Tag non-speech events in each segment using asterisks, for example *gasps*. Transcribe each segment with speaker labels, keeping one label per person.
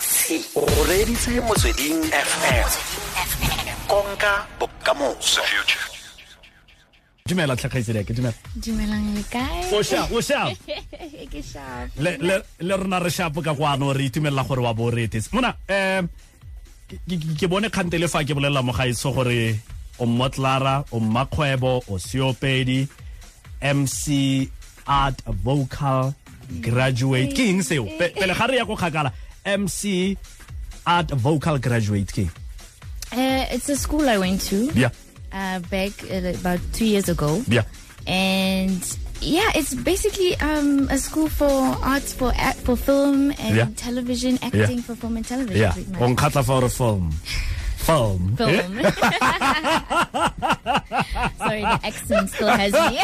Speaker 1: se o reditse motsweding fm konka bokamoso
Speaker 2: dumela tlhagaitsedi ke dumela
Speaker 3: dumelang le kae
Speaker 2: o sharp o sharp
Speaker 3: ke sharp
Speaker 2: le le le rona re sharp ka kwano re itumelela gore wa bo retetse mona em ke- ke ke bone kgante le fa ke bolelela mo gaetso gore o mmotlara o mmakgwebo o seopedi mc art vocal graduate ke eng seo Pe- pele ga re ya go kgakala mc art vocal graduate ke eng?
Speaker 3: uh, it's a school i went to
Speaker 2: bia
Speaker 3: uh, back uh, about two years ago
Speaker 2: bia
Speaker 3: and yeah it's basically um, a school for arts for act, for film and
Speaker 2: Yeah.
Speaker 3: television acting for film and television
Speaker 2: yeah
Speaker 3: pretty much.
Speaker 2: o nkgatlha fa ore film film *laughs* Eh?
Speaker 3: film sorry the accent still has
Speaker 2: *laughs*
Speaker 3: me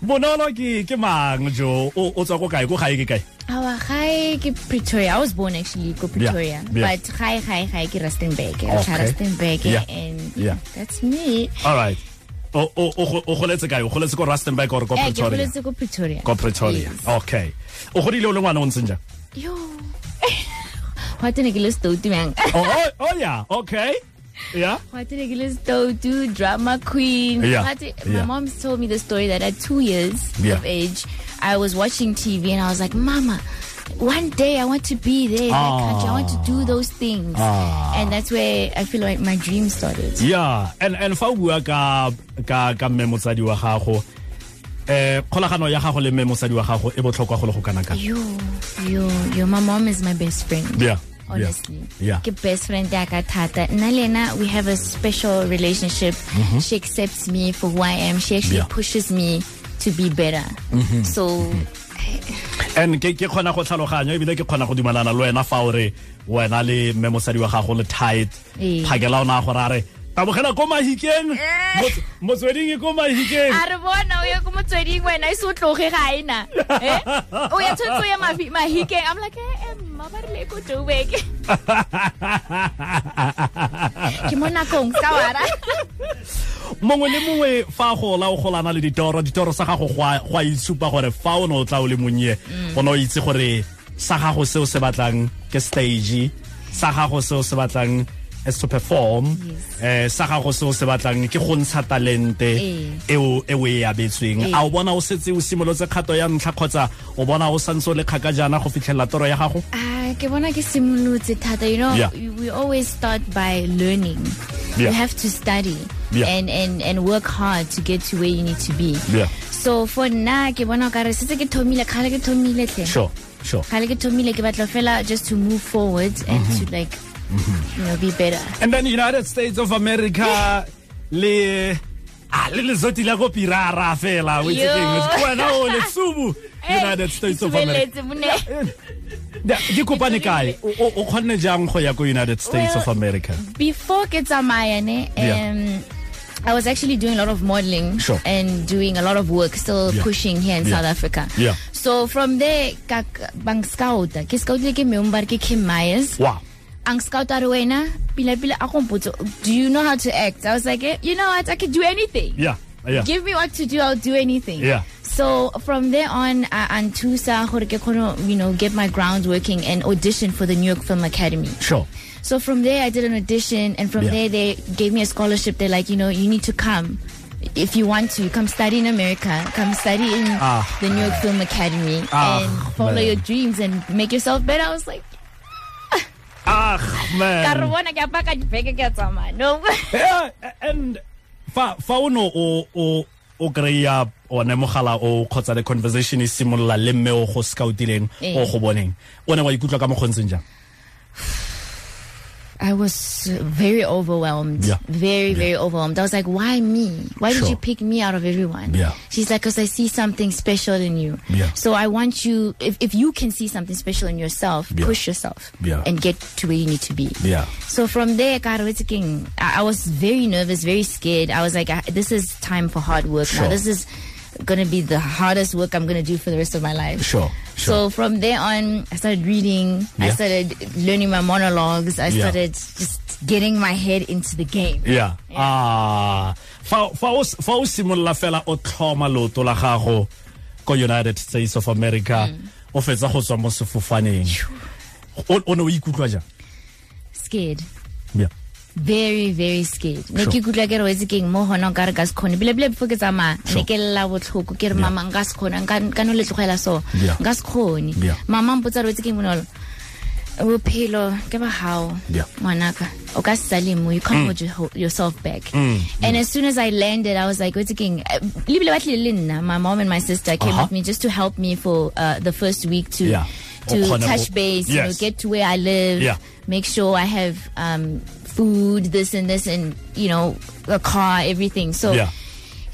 Speaker 2: bonolo ke ke mang jo o o tswa ko kae ko gae ke kae
Speaker 3: our hi ke pretoria i was born actually ko pretoria
Speaker 2: yeah.
Speaker 3: but hi hi hi ke rustenburg
Speaker 2: Okay.
Speaker 3: rustenburg
Speaker 2: Yeah.
Speaker 3: and
Speaker 2: Yeah.
Speaker 3: that's me
Speaker 2: all right o o o go- o goletse kae o goletse ko rustenburg or ko
Speaker 3: Eh, ke
Speaker 2: pretoria
Speaker 3: holetse ko pretoria
Speaker 2: ko pretoria
Speaker 3: Yes.
Speaker 2: okay o godile o le ngwana o ntseng jang
Speaker 3: yo *laughs* hwa tene ke le stoutu *laughs* mang
Speaker 2: oh oh, oh yeah okay yeah
Speaker 3: hwa tene ke le stoutu drama queen
Speaker 2: Yeah,
Speaker 3: Hwa tene-
Speaker 2: yeah.
Speaker 3: my mom told me the story that at two years
Speaker 2: Yeah.
Speaker 3: of age i was watching tv and i was like mama one day i want to be there in that country i want to do
Speaker 2: Ah.
Speaker 3: those things and that's where i feel like my dream started
Speaker 2: yeah and and fa o bua ka ka ka mme motsadi wa gago eh kgolagano ya gago le mme motsadi wa gago e botlhokwa go le go kana kana
Speaker 3: yo yo yo my mom is my best friend
Speaker 2: yeah yeah,
Speaker 3: honestly.
Speaker 2: yeah
Speaker 3: Ke best friend ya ka thata. Nna le ena, we have a special relationship. She accepts me for who I am. She actually
Speaker 2: Yeah.
Speaker 3: pushes me to be better. So
Speaker 2: and ke ke khona go tlhaloganya ebile ke khona go dumelana le wena fa o re wena le mme mosadi wa gago le tight
Speaker 3: Ee.
Speaker 2: phakela ona go rare tabogela ko mahikeng
Speaker 3: Eh.
Speaker 2: Mots- motsweding e ko mahikeng
Speaker 3: a re bona o ya ko motsweding wena e se o tloge ga ena Eh? o ya tshwanetse o ya mavi- mahikeng i'm like eh, eh, mma ba rile ko Joburg."
Speaker 2: *laughs*
Speaker 3: ke mo nakong ka wara
Speaker 2: mongwe le mongwe fa a gola o golana le ditoro ditoro sa gago go a go a itshupa gore fa o ne o tla o le monnye o ne o itse gore sa gago seo se batlang ke stage sa gago seo se batlang is to perform eh sa gago seo se batlang ke go ntsha talente
Speaker 3: Ee.
Speaker 2: eo e o e abetsweng
Speaker 3: Ee.
Speaker 2: a o bona o setse o simolotse kgato ya ntlha kgotsa o bona o santse o le kgaka jana go fitlhelela toro ya gago
Speaker 3: Ah, ke bona ke simolotse thata you know
Speaker 2: Yeah.
Speaker 3: we always start by learning
Speaker 2: Yeah.
Speaker 3: you have to study
Speaker 2: Yeah.
Speaker 3: and, and, and work hard to get to where you need to be
Speaker 2: Yeah.
Speaker 3: so for nna ke bona ka re setse ke thomile kgale ke thomile tle
Speaker 2: sure sure
Speaker 3: kgale ke thomile ke batla fela just to move forward and
Speaker 2: Mm-hmm.
Speaker 3: to like you know be better
Speaker 2: and then united states of america le a le lezoti la go pirara fela o itse
Speaker 3: Yo.
Speaker 2: ke eng, ke wena o
Speaker 3: *laughs*
Speaker 2: letsubu united states of america
Speaker 3: Itshubeletse, mone.
Speaker 2: Da- di kopane kae o o- o khonne jang go ya ko united states of
Speaker 3: Well, mm.
Speaker 2: america
Speaker 3: before Ketsamaya, ne, um,
Speaker 2: Yeah.
Speaker 3: I was actually doing a lot of modeling
Speaker 2: Sure.
Speaker 3: and doing a lot of work, still
Speaker 2: Yeah.
Speaker 3: pushing here in
Speaker 2: Yeah.
Speaker 3: South Africa.
Speaker 2: Yeah.
Speaker 3: So from there, ka bang scout, ke scout ke member ke Kim Myers.
Speaker 2: wow
Speaker 3: Ang scout are wena, pila pila ako mpotso, do you know how to act? I was like, eh, you know what, I can do anything.
Speaker 2: yeah yeah
Speaker 3: Give me what to do, I'll do anything.
Speaker 2: Yeah.
Speaker 3: So from there on, I antusa gore ke kgone, you know, get my ground working and audition for the New York Film Academy.
Speaker 2: sure
Speaker 3: So from there, I did an audition, and from
Speaker 2: Yeah.
Speaker 3: there, they gave me a scholarship. They're like, you know, you need to come. If you want to, come study in America, come study in
Speaker 2: Ah.
Speaker 3: the New York Film Academy,
Speaker 2: Ah,
Speaker 3: and follow
Speaker 2: man.
Speaker 3: your dreams and make yourself better. I was like,
Speaker 2: ah
Speaker 3: "Ka re
Speaker 2: man
Speaker 3: bona ke apaka dibeke ke a tsamaya." no. *laughs*
Speaker 2: Yeah, and fa fa o no o o o kry-a one mogala o kgotsa the conversation e simolola le mme o go scoutileng
Speaker 3: Ee.
Speaker 2: o go boneng o ne wa ikutlwa ka mokgontseng jang
Speaker 3: I was uh, very overwhelmed.
Speaker 2: Yeah.
Speaker 3: Very, very overwhelmed. I was like, why me? Why
Speaker 2: Sure.
Speaker 3: did you pick me out of everyone?
Speaker 2: Yeah.
Speaker 3: She's like, because I see something special in you.
Speaker 2: Yeah.
Speaker 3: So I want you, if, if you can see something special in yourself,
Speaker 2: Yeah.
Speaker 3: push yourself
Speaker 2: Yeah.
Speaker 3: and get to where you need to be.
Speaker 2: Yeah.
Speaker 3: So from there, God, it's king. I, I was very nervous, very scared. I was like, I, this is time for hard work
Speaker 2: Sure.
Speaker 3: now. This is going to be the hardest work I'm going to do for the rest of my life.
Speaker 2: Sure, sure.
Speaker 3: So from there on, I started reading. I
Speaker 2: Yeah.
Speaker 3: started learning my monologues. I
Speaker 2: Yeah.
Speaker 3: started just getting my head into the game.
Speaker 2: yeah ah fa fa o s- fa o simolola fela o tlhoma loto la gago Mm. ko united states of america o fetsa go tswa mo sefofaneng o o ne o ikutlwa jang
Speaker 3: scared
Speaker 2: Yeah.
Speaker 3: very very scared ne
Speaker 2: Sure.
Speaker 3: ke ikutlwa ke re wetse keng mo gona nka re ka se kgone bilebile before ke tsamaya
Speaker 2: Sure.
Speaker 3: ne ke lla botlhoko ke re mama nka se kgone nka ka no le tlogela so
Speaker 2: Yeah.
Speaker 3: nka se kgone
Speaker 2: Yeah.
Speaker 3: mama mpotsa re wetse keng bonolo bophelo ke ba gago
Speaker 2: Yeah. Mm.
Speaker 3: ngwanaka o ka se sale mo you can't hold your, ho- yourself back and as soon as i landed i was like wetse keng eh, lebile ba tlile le nna my mom and my sister came
Speaker 2: Uh-huh.
Speaker 3: with me just to help me for uh, the first week to
Speaker 2: Yeah.
Speaker 3: to
Speaker 2: O kgone
Speaker 3: touch
Speaker 2: go-
Speaker 3: base you know,
Speaker 2: Yes.
Speaker 3: get to where i live
Speaker 2: Yeah.
Speaker 3: make sure I have um, food, this and this, and you know, a car, everything. So,
Speaker 2: Yeah.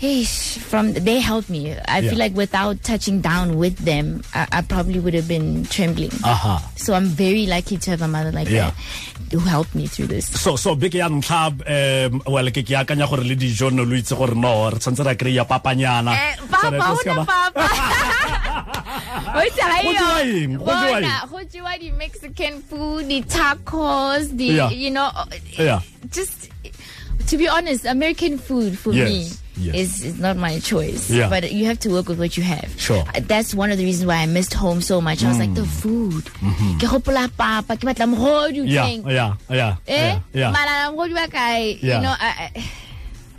Speaker 3: eish, from they helped me. I
Speaker 2: Yeah.
Speaker 3: feel like without touching down with them, I, I probably would have been trembling.
Speaker 2: aha
Speaker 3: so I'm very lucky to have a mother like
Speaker 2: Uh-huh. Yeah.
Speaker 3: that who helped me through this.
Speaker 2: so so beke ya ntlha um well ke ke akanya gore le dijo ne lo itse gore no re tshwanetse ra kry-a papanyana Sorry,
Speaker 3: Eh, Papa,
Speaker 2: go seka Eh, ba- *laughs* Go jewa eng? Go jewa eng?
Speaker 3: the Mexican food, the tacos, the
Speaker 2: Yeah.
Speaker 3: you know,
Speaker 2: Yeah.
Speaker 3: just to be honest, American food for
Speaker 2: Yes,
Speaker 3: me
Speaker 2: yes.
Speaker 3: is is not my choice.
Speaker 2: Yeah.
Speaker 3: But you have to work with what you have.
Speaker 2: Sure. Mm.
Speaker 3: Uh, That's one of the reasons why I missed home so much. I was like the food. Ke hopola papa, ke batla mogodu
Speaker 2: Mm-hmm. yeah
Speaker 3: teng.
Speaker 2: yeah yeah
Speaker 3: Eh?
Speaker 2: yeah, yeah
Speaker 3: Mala mogodu wa kae?
Speaker 2: Yeah.
Speaker 3: You know, I, I,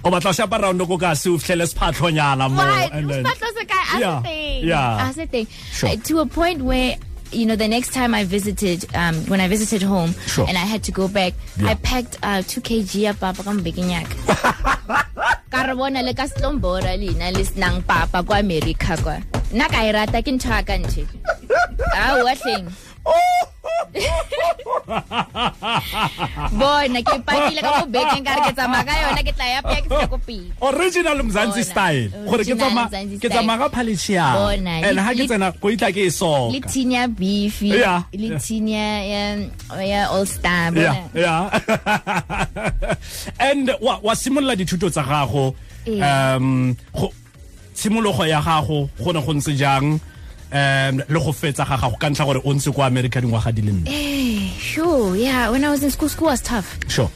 Speaker 2: o batla o shapa round ko ka se o fitlhele sephatlhonyana mo
Speaker 3: Right.
Speaker 2: and then-
Speaker 3: That's also guy. As
Speaker 2: Yeah,
Speaker 3: a thing.
Speaker 2: yeah.
Speaker 3: As a thing.
Speaker 2: Sure.
Speaker 3: Uh, to a point where, you know, the next time I visited, um, when I visited home
Speaker 2: Sure.
Speaker 3: and I had to go back,
Speaker 2: Yeah.
Speaker 3: I packed uh, 2 kg of papa from
Speaker 2: *laughs*
Speaker 3: Beginyak. Karabona le kaslombora lina le snang papa kwa America kwa. Nna ka e rata ke ntho ya ka nje.
Speaker 2: *laughs*
Speaker 3: Ah, what thing? Bona ke e pakile ka mo bekeng ka re ke tsamaya ka yona ke tla ya paya ke fihla ko Piet.
Speaker 2: original mzansi
Speaker 3: Bona.
Speaker 2: style gore ke
Speaker 3: Original
Speaker 2: tsama
Speaker 3: Mzansi
Speaker 2: ke tsama ka paletiana
Speaker 3: Bona.
Speaker 2: and
Speaker 3: Le-
Speaker 2: ha ke
Speaker 3: le-
Speaker 2: tsena go itla ke e
Speaker 3: le
Speaker 2: soka
Speaker 3: tin ya beef
Speaker 2: Yeah.
Speaker 3: le tin ya ya- ya all star
Speaker 2: yeah
Speaker 3: *sighs* bona
Speaker 2: yeah *laughs* and wa wa simolla dithuto tsa gago
Speaker 3: Ee.
Speaker 2: um go tshimologo ya gago go ne go ntse jang um le go fetsa ga gago ka ntlha gore o ntse kwa america dingwaga di le
Speaker 3: Ee.
Speaker 2: nne
Speaker 3: sure yeah when i was in school school was tough
Speaker 2: sure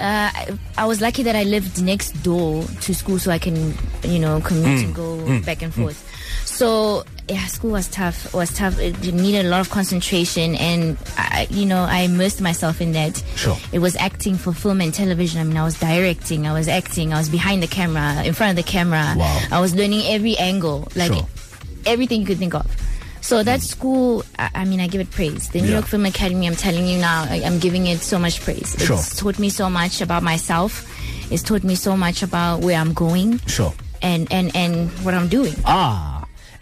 Speaker 3: uh, I, I was lucky that i lived next door to school so i can you know
Speaker 2: Mm.
Speaker 3: commute and go back and forth so yeah school was tough was tough it needed a lot of concentration and I, you know i immersed myself in that
Speaker 2: Sure.
Speaker 3: it was acting for film and television i mean i was directing i was acting i was behind the camera in front of the camera
Speaker 2: Wow.
Speaker 3: i was learning every angle like
Speaker 2: Sure. Mm.
Speaker 3: everything you could think of. So that school, I, I mean, I give it praise. The New
Speaker 2: Yeah.
Speaker 3: York Film Academy, I'm telling you now, I, I'm giving it so much praise. It's
Speaker 2: Sure.
Speaker 3: taught me so much about myself. It's taught me so much about where I'm going
Speaker 2: sure
Speaker 3: and, and, and what I'm doing.
Speaker 2: ah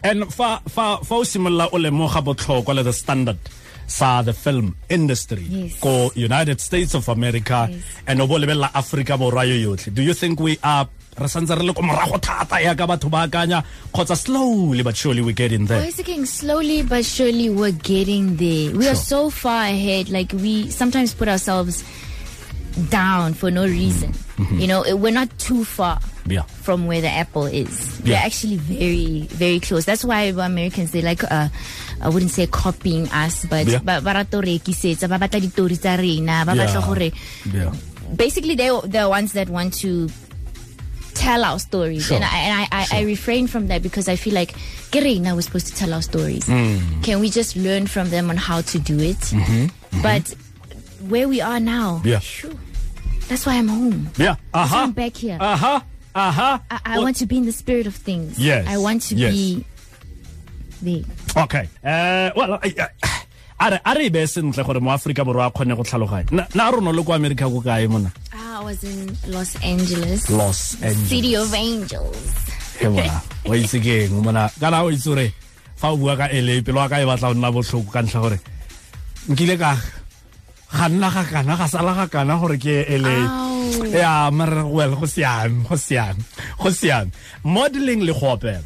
Speaker 2: and fa fa fa o simolola o lemoga botlhokwa le the standard sa the film industry
Speaker 3: Yes.
Speaker 2: ko united states of america
Speaker 3: Yes.
Speaker 2: and o bo lebelela aforika borwa yo yotlhe do you think we are re santse re le ko morago thata yaka batho ba akanya kgotsa slowly but surely we get in there
Speaker 3: Boys again, slowly but surely we're getting there. We are
Speaker 2: Sure.
Speaker 3: so far ahead. Like we sometimes put ourselves down for no reason.
Speaker 2: Mm-hmm.
Speaker 3: You know, it- we're not too far
Speaker 2: Yeah.
Speaker 3: from where the apple is.
Speaker 2: Yeah.
Speaker 3: We're actually very, very close. That's why Americans they like uh, I wouldn't say copying us, but
Speaker 2: Yeah.
Speaker 3: ba- ba rata ho rekisetsa, ba batla ditori tsa rena, ba batla
Speaker 2: yeah.
Speaker 3: gore-
Speaker 2: Yeah.
Speaker 3: basically they they're ones that want to tell our stories
Speaker 2: Sure.
Speaker 3: and, I, and I, I, I refrain from that because I feel like Gerena was supposed to tell our stories
Speaker 2: Hmm.
Speaker 3: can we just learn from them on how to do it but where we are now
Speaker 2: Mm-hmm. Yeah. Uh-huh.
Speaker 3: phew, that's why I'm home
Speaker 2: yeah aha
Speaker 3: I'm back here
Speaker 2: aha aha
Speaker 3: I, I want to be in the spirit of things
Speaker 2: Yes,
Speaker 3: I want to
Speaker 2: yes.
Speaker 3: be there
Speaker 2: okay uh, well I- I- a re- a re e beye sentle gore mo aforika borwa a kgone go tlhaloganya Na- na rona le ko america ko kae mona
Speaker 3: Ah, I was in Los Angeles
Speaker 2: Los Angeles.
Speaker 3: city of angels
Speaker 2: ke bona wa itse ke eng mona kana o itse gore fa o bua ka ele pelo wa ka e batla go nna botlhoko ka ntlha gore nkile ka ga nna ga kana ga sala ga kana gore ke ele
Speaker 3: Ao.
Speaker 2: ya mara well go siame go siame go siame modeling le go opela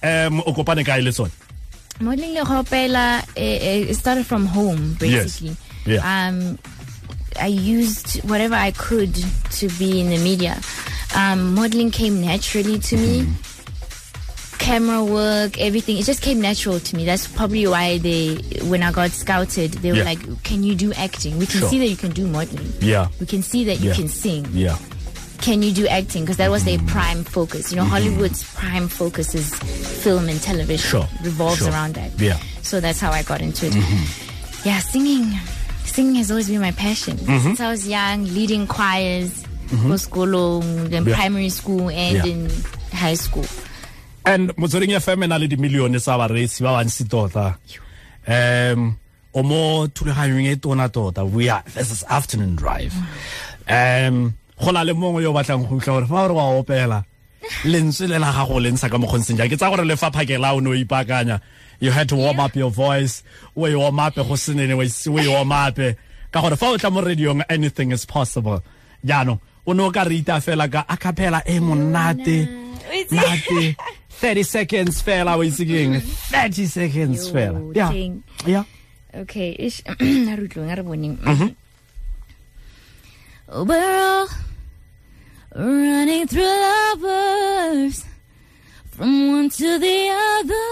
Speaker 2: um o kopane kae le tsone
Speaker 3: modeling le go opela eh, eh, it started from home
Speaker 2: Yes.
Speaker 3: basically
Speaker 2: Yeah.
Speaker 3: um i used whatever i could to be in the media um modeling came naturally to me
Speaker 2: Mm-hmm.
Speaker 3: camera work everything it just came natural to me that's probably why they when i got scouted they were
Speaker 2: Yeah.
Speaker 3: like can you do acting we can
Speaker 2: Sure.
Speaker 3: see that you can do modeling
Speaker 2: Yeah.
Speaker 3: we can see that you
Speaker 2: Yeah.
Speaker 3: can sing
Speaker 2: yeah
Speaker 3: can you do acting? Because that was their prime focus. You
Speaker 2: Mm-hmm.
Speaker 3: know, Hollywood's prime focus is film and television.
Speaker 2: Sure, Mm-hmm.
Speaker 3: Revolves
Speaker 2: sure.
Speaker 3: around that.
Speaker 2: Yeah.
Speaker 3: So that's how I got into it. Yeah, singing. singing has always been my passion
Speaker 2: Mm-hmm.
Speaker 3: since I was young. Leading choirs, go school, in
Speaker 2: Yeah.
Speaker 3: primary school, and
Speaker 2: Yeah.
Speaker 3: in high school.
Speaker 2: and motsweding fm e na le dimilione tsa bareetsi ba bantsi tota um o mo thulaganyong e tona tota we are this is afternoon drive um go na le mongwe yo o batlang go utlwa gore fa o re wa opela lentswe le la gago le ntsha ka mokgontseng jang ke tsa gore le fa phakela o ne o ipaakanya you had to warm up your voice o e warm up go senene o e- o e warm up ka gore fa o tla mo radiong anything is possible jaanong o ne o ka re ita fela ka acapella e monate monate 30 seconds fela o itse keng 30 seconds
Speaker 3: Yo,
Speaker 2: fela yeah
Speaker 3: keng.
Speaker 2: yeah
Speaker 3: Okay, ish. *clears throat* a re utlweng, a re boneng. Oh, We're all running through lovers from one to the other,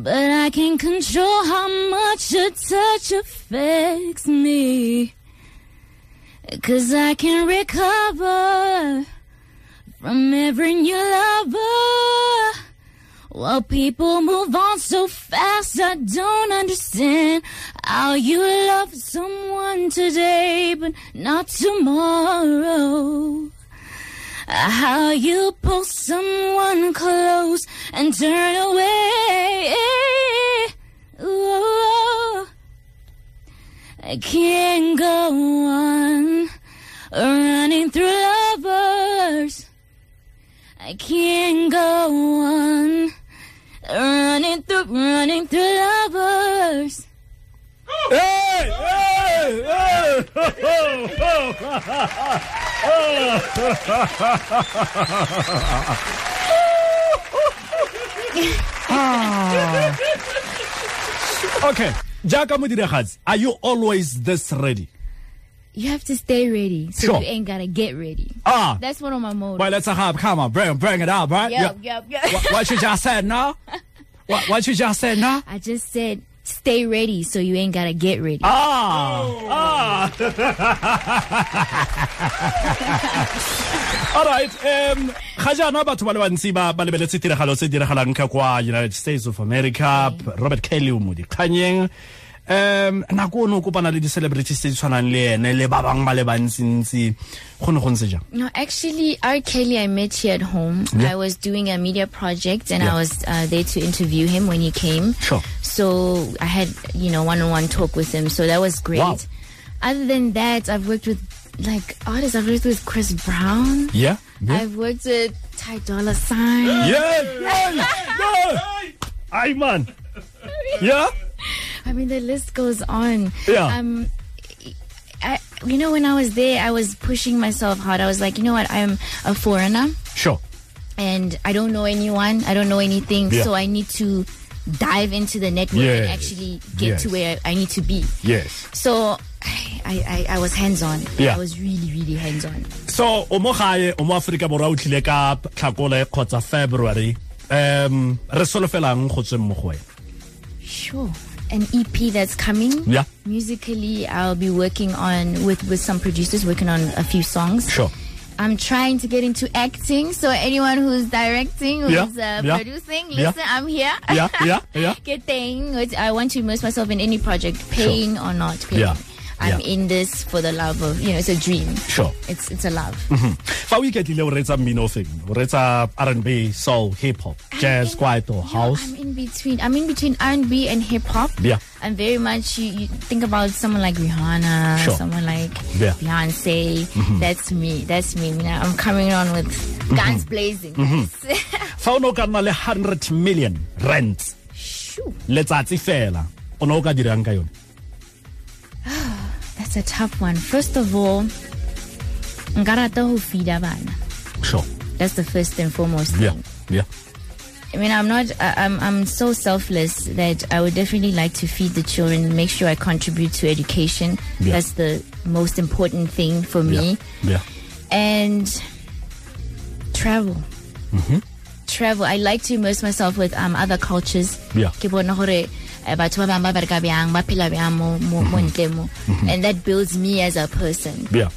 Speaker 3: but I can't control how much your touch affects me. Cause I can recover from every new lover. Well, people move on so fast, I don't understand how you love someone today, but not tomorrow. How you pull someone close and turn away. Ooh. I can't go on running through lovers. I can't go on running through, running through lovers.
Speaker 2: Hey, hey, hey. Ah. okay jaaka modiragatsi are you always this ready
Speaker 3: You have to stay ready, so
Speaker 2: Sure.
Speaker 3: you ain't gotta get ready.
Speaker 2: ah
Speaker 3: That's one of my modes.
Speaker 2: well let's have come on bring, bring it up right
Speaker 3: Yup, yup, yup.
Speaker 2: Wha- what you just said now what, what you just said now
Speaker 3: I just said stay ready, so you ain't gotta get ready.
Speaker 2: Ah, *laughs* ah. All right. Um ga jaana batho ba le bantsi ba ba lebeletse tiragalo tse di diragalang ka kwa United States of America, Robert Kelly mo dikganyeng. Um nako o ne o kopana le di-celebrities tse di tshwanang le ene le ba bang ba le bantsi-ntsi go ne go ntse jang
Speaker 3: No, actually, R. Kelly, I met here at home. I was doing a media project, and
Speaker 2: Yeah.
Speaker 3: I was uh, there to interview him when he came.
Speaker 2: Sure.
Speaker 3: So I had, you know, one-on-one talk with him. So that was great.
Speaker 2: Wow.
Speaker 3: Other than that, I've worked with like artists. I've worked with Chris Brown.
Speaker 2: yeah yeah
Speaker 3: I've worked with Ty Dolla
Speaker 2: *gasps*
Speaker 3: Sign.
Speaker 2: yeah yeah ai man yeah
Speaker 3: I mean, the list goes on.
Speaker 2: Yeah.
Speaker 3: Um, I, you know, when I was there, I was pushing myself hard. I was like, you know what? I'm a foreigner.
Speaker 2: sure
Speaker 3: and I don't know anyone, I don't know anything,
Speaker 2: Yeah.
Speaker 3: so I need to dive into the network and
Speaker 2: Yes.
Speaker 3: actually get to
Speaker 2: Yes.
Speaker 3: where I need to be.
Speaker 2: yes
Speaker 3: So I, I, I was hands on.
Speaker 2: Yeah.
Speaker 3: I was really, really hands on.
Speaker 2: so o mo gae o mo aforika borwa o tlile ka tlhakole kgotsa february um re solofelang go tsweng mo go wena
Speaker 3: Sure. An EP that's coming.
Speaker 2: Yeah.
Speaker 3: Musically, I'll be working on with with some producers, working on a few songs.
Speaker 2: Sure.
Speaker 3: I'm trying to get into acting, so anyone who's directing, who's
Speaker 2: Yeah,
Speaker 3: uh,
Speaker 2: yeah,
Speaker 3: producing,
Speaker 2: yeah.
Speaker 3: listen, I'm here. *laughs*
Speaker 2: yeah yeah *laughs* yeah
Speaker 3: good thing. It's- I want to immerse myself in any project, paying or not paying.
Speaker 2: Yeah.
Speaker 3: I'm
Speaker 2: Yeah.
Speaker 3: in this for the love of you know. It's a dream.
Speaker 2: sure
Speaker 3: It's it's a love.
Speaker 2: Hmm. fa o iketlile o reetsa mmino o feng o reetsa r&b soul hip hop jazz
Speaker 3: in-
Speaker 2: quiet or
Speaker 3: Yeah,
Speaker 2: house
Speaker 3: I'm in between. I'm in between R&B and hip hop.
Speaker 2: Yeah.
Speaker 3: I'm very much. You, you think about someone like Rihanna,
Speaker 2: Sure.
Speaker 3: someone like
Speaker 2: Yeah. Mm-hmm.
Speaker 3: Beyonce. That's me. That's me. You know, I'm coming on with guns blazing.
Speaker 2: fa o ne o ka nna le 100 million rent
Speaker 3: *laughs* Shoo,
Speaker 2: letsatsi fela o ne o ka dirang ka yone
Speaker 3: that's a tough one. First of all, ngarata ho feed bana.
Speaker 2: sure
Speaker 3: That's the first and foremost
Speaker 2: yeah
Speaker 3: thing.
Speaker 2: yeah
Speaker 3: I mean, I'm not. I, I'm. I'm so selfless that I would definitely like to feed the children. Make sure I contribute to education.
Speaker 2: Yeah.
Speaker 3: That's the most important thing for me.
Speaker 2: yeah yeah
Speaker 3: And travel.
Speaker 2: Mm-hmm.
Speaker 3: Travel. I like to immerse myself with um, other cultures.
Speaker 2: Yeah.
Speaker 3: Ke bona gore, eh, batho ba bang ba bereka bjang, ba phela bjang mo- mo- mo
Speaker 2: Mm-hmm.
Speaker 3: ntle mo. And that builds me as a person
Speaker 2: yeah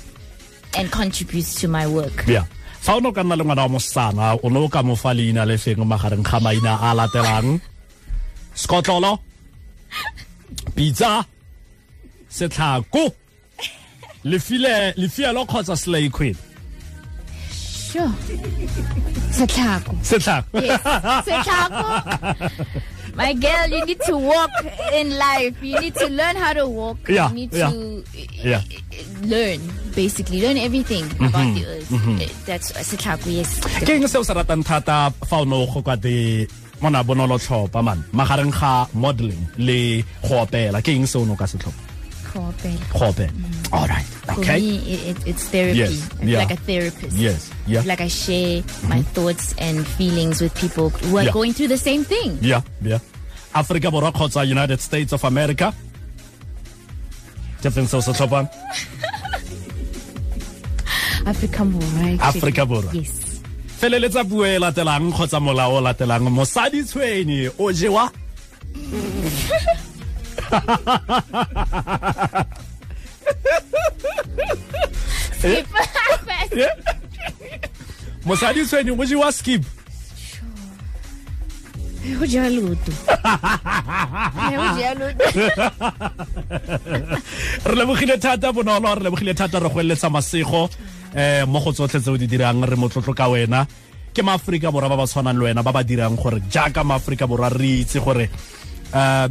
Speaker 3: and contributes to my work.
Speaker 2: yeah fa o ne o ka nna le ngwana wa mosana o ne o ka mofa leina le feng magareng ga maina a a latelang sekotlolo pitsa setlhako lefile lefielo kgotsa selaequid
Speaker 3: Sure. Setlhako.
Speaker 2: setlhako
Speaker 3: Yes. Setlhako. My girl, you need to walk in life. You need to learn how to walk.
Speaker 2: Yeah,
Speaker 3: you need
Speaker 2: yeah,
Speaker 3: to
Speaker 2: yeah. Mm-hmm.
Speaker 3: learn, basically. Learn everything about the earth. Eh, That's Setlhako, yes.
Speaker 2: ke eng se o se ratang thata fa o ne o goka the mona bonolo tlhopa man magareng ga modeling le go opela ke eng se o ne o ka se tlhopa
Speaker 3: Go opela.
Speaker 2: go opela all right
Speaker 3: For
Speaker 2: okay
Speaker 3: me, it, it, it's therapy.
Speaker 2: Yes,
Speaker 3: I feel
Speaker 2: yeah.
Speaker 3: like a therapist.
Speaker 2: Yes, yeah. Mm-hmm.
Speaker 3: Like I share my thoughts and feelings with people who are
Speaker 2: Yeah.
Speaker 3: going through the same thing.
Speaker 2: yeah yeah Africa borwa kgotsa United States of America Jefferson se o se tlhopang
Speaker 3: Africa more, right?
Speaker 2: Africa Borwa.
Speaker 3: Yes.
Speaker 2: feleletsa puo e latelang kgotsa molao o latelang mosadi tshwenye o jewa Eh? mosadi tshwenye o jewa skip
Speaker 3: Ho ja
Speaker 2: *laughs*
Speaker 3: loto. Eh, ho ja loto.
Speaker 2: re lebogile thata bonolo re lebogile thata re go eletsa masego eh mo go tsotlhe tse o di dirang re motlotlo ka wena ke maaforika borwa ba ba tshwanang le wena ba ba dirang gore jaaka maaforika borwa re itse gore um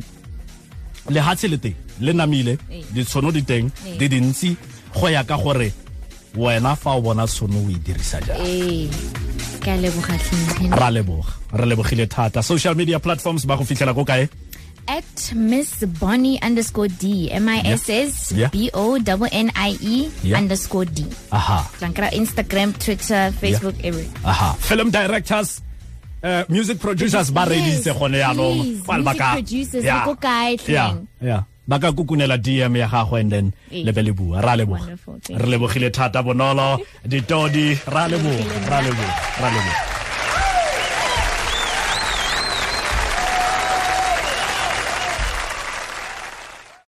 Speaker 2: lehatshe le teng le namile
Speaker 3: Ee.
Speaker 2: ditshono di teng
Speaker 3: Ee.
Speaker 2: di dintsi go ya ka gore wena fa o bona tshono o e dirisa jang
Speaker 3: Eh, ke a leboga tlhe.
Speaker 2: ra leboga re lebogile thata social media platforms ba go fitlhela ko kae
Speaker 3: At Miss Bonnie underscore D. M-I-S-S
Speaker 2: Yeah.
Speaker 3: B-O-N-N-I-E
Speaker 2: Yeah.
Speaker 3: E underscore D.
Speaker 2: aha
Speaker 3: Tlankara Instagram, Twitter, Facebook, everywhere.
Speaker 2: aha film directors uh, music producers ba reditse
Speaker 3: Yes,
Speaker 2: gone
Speaker 3: please.
Speaker 2: yanong Well, ba
Speaker 3: Music
Speaker 2: ka-
Speaker 3: producers,
Speaker 2: Yeah,
Speaker 3: ba ko kae tleng?
Speaker 2: yeah, yeah. ba ka kukunela dm ya gago and then
Speaker 3: Ee.
Speaker 2: le be le bua ra leboga
Speaker 3: Wonderful, thank
Speaker 2: re lebogile thata bonolo ditodi ra leboga ra leboga ra leboga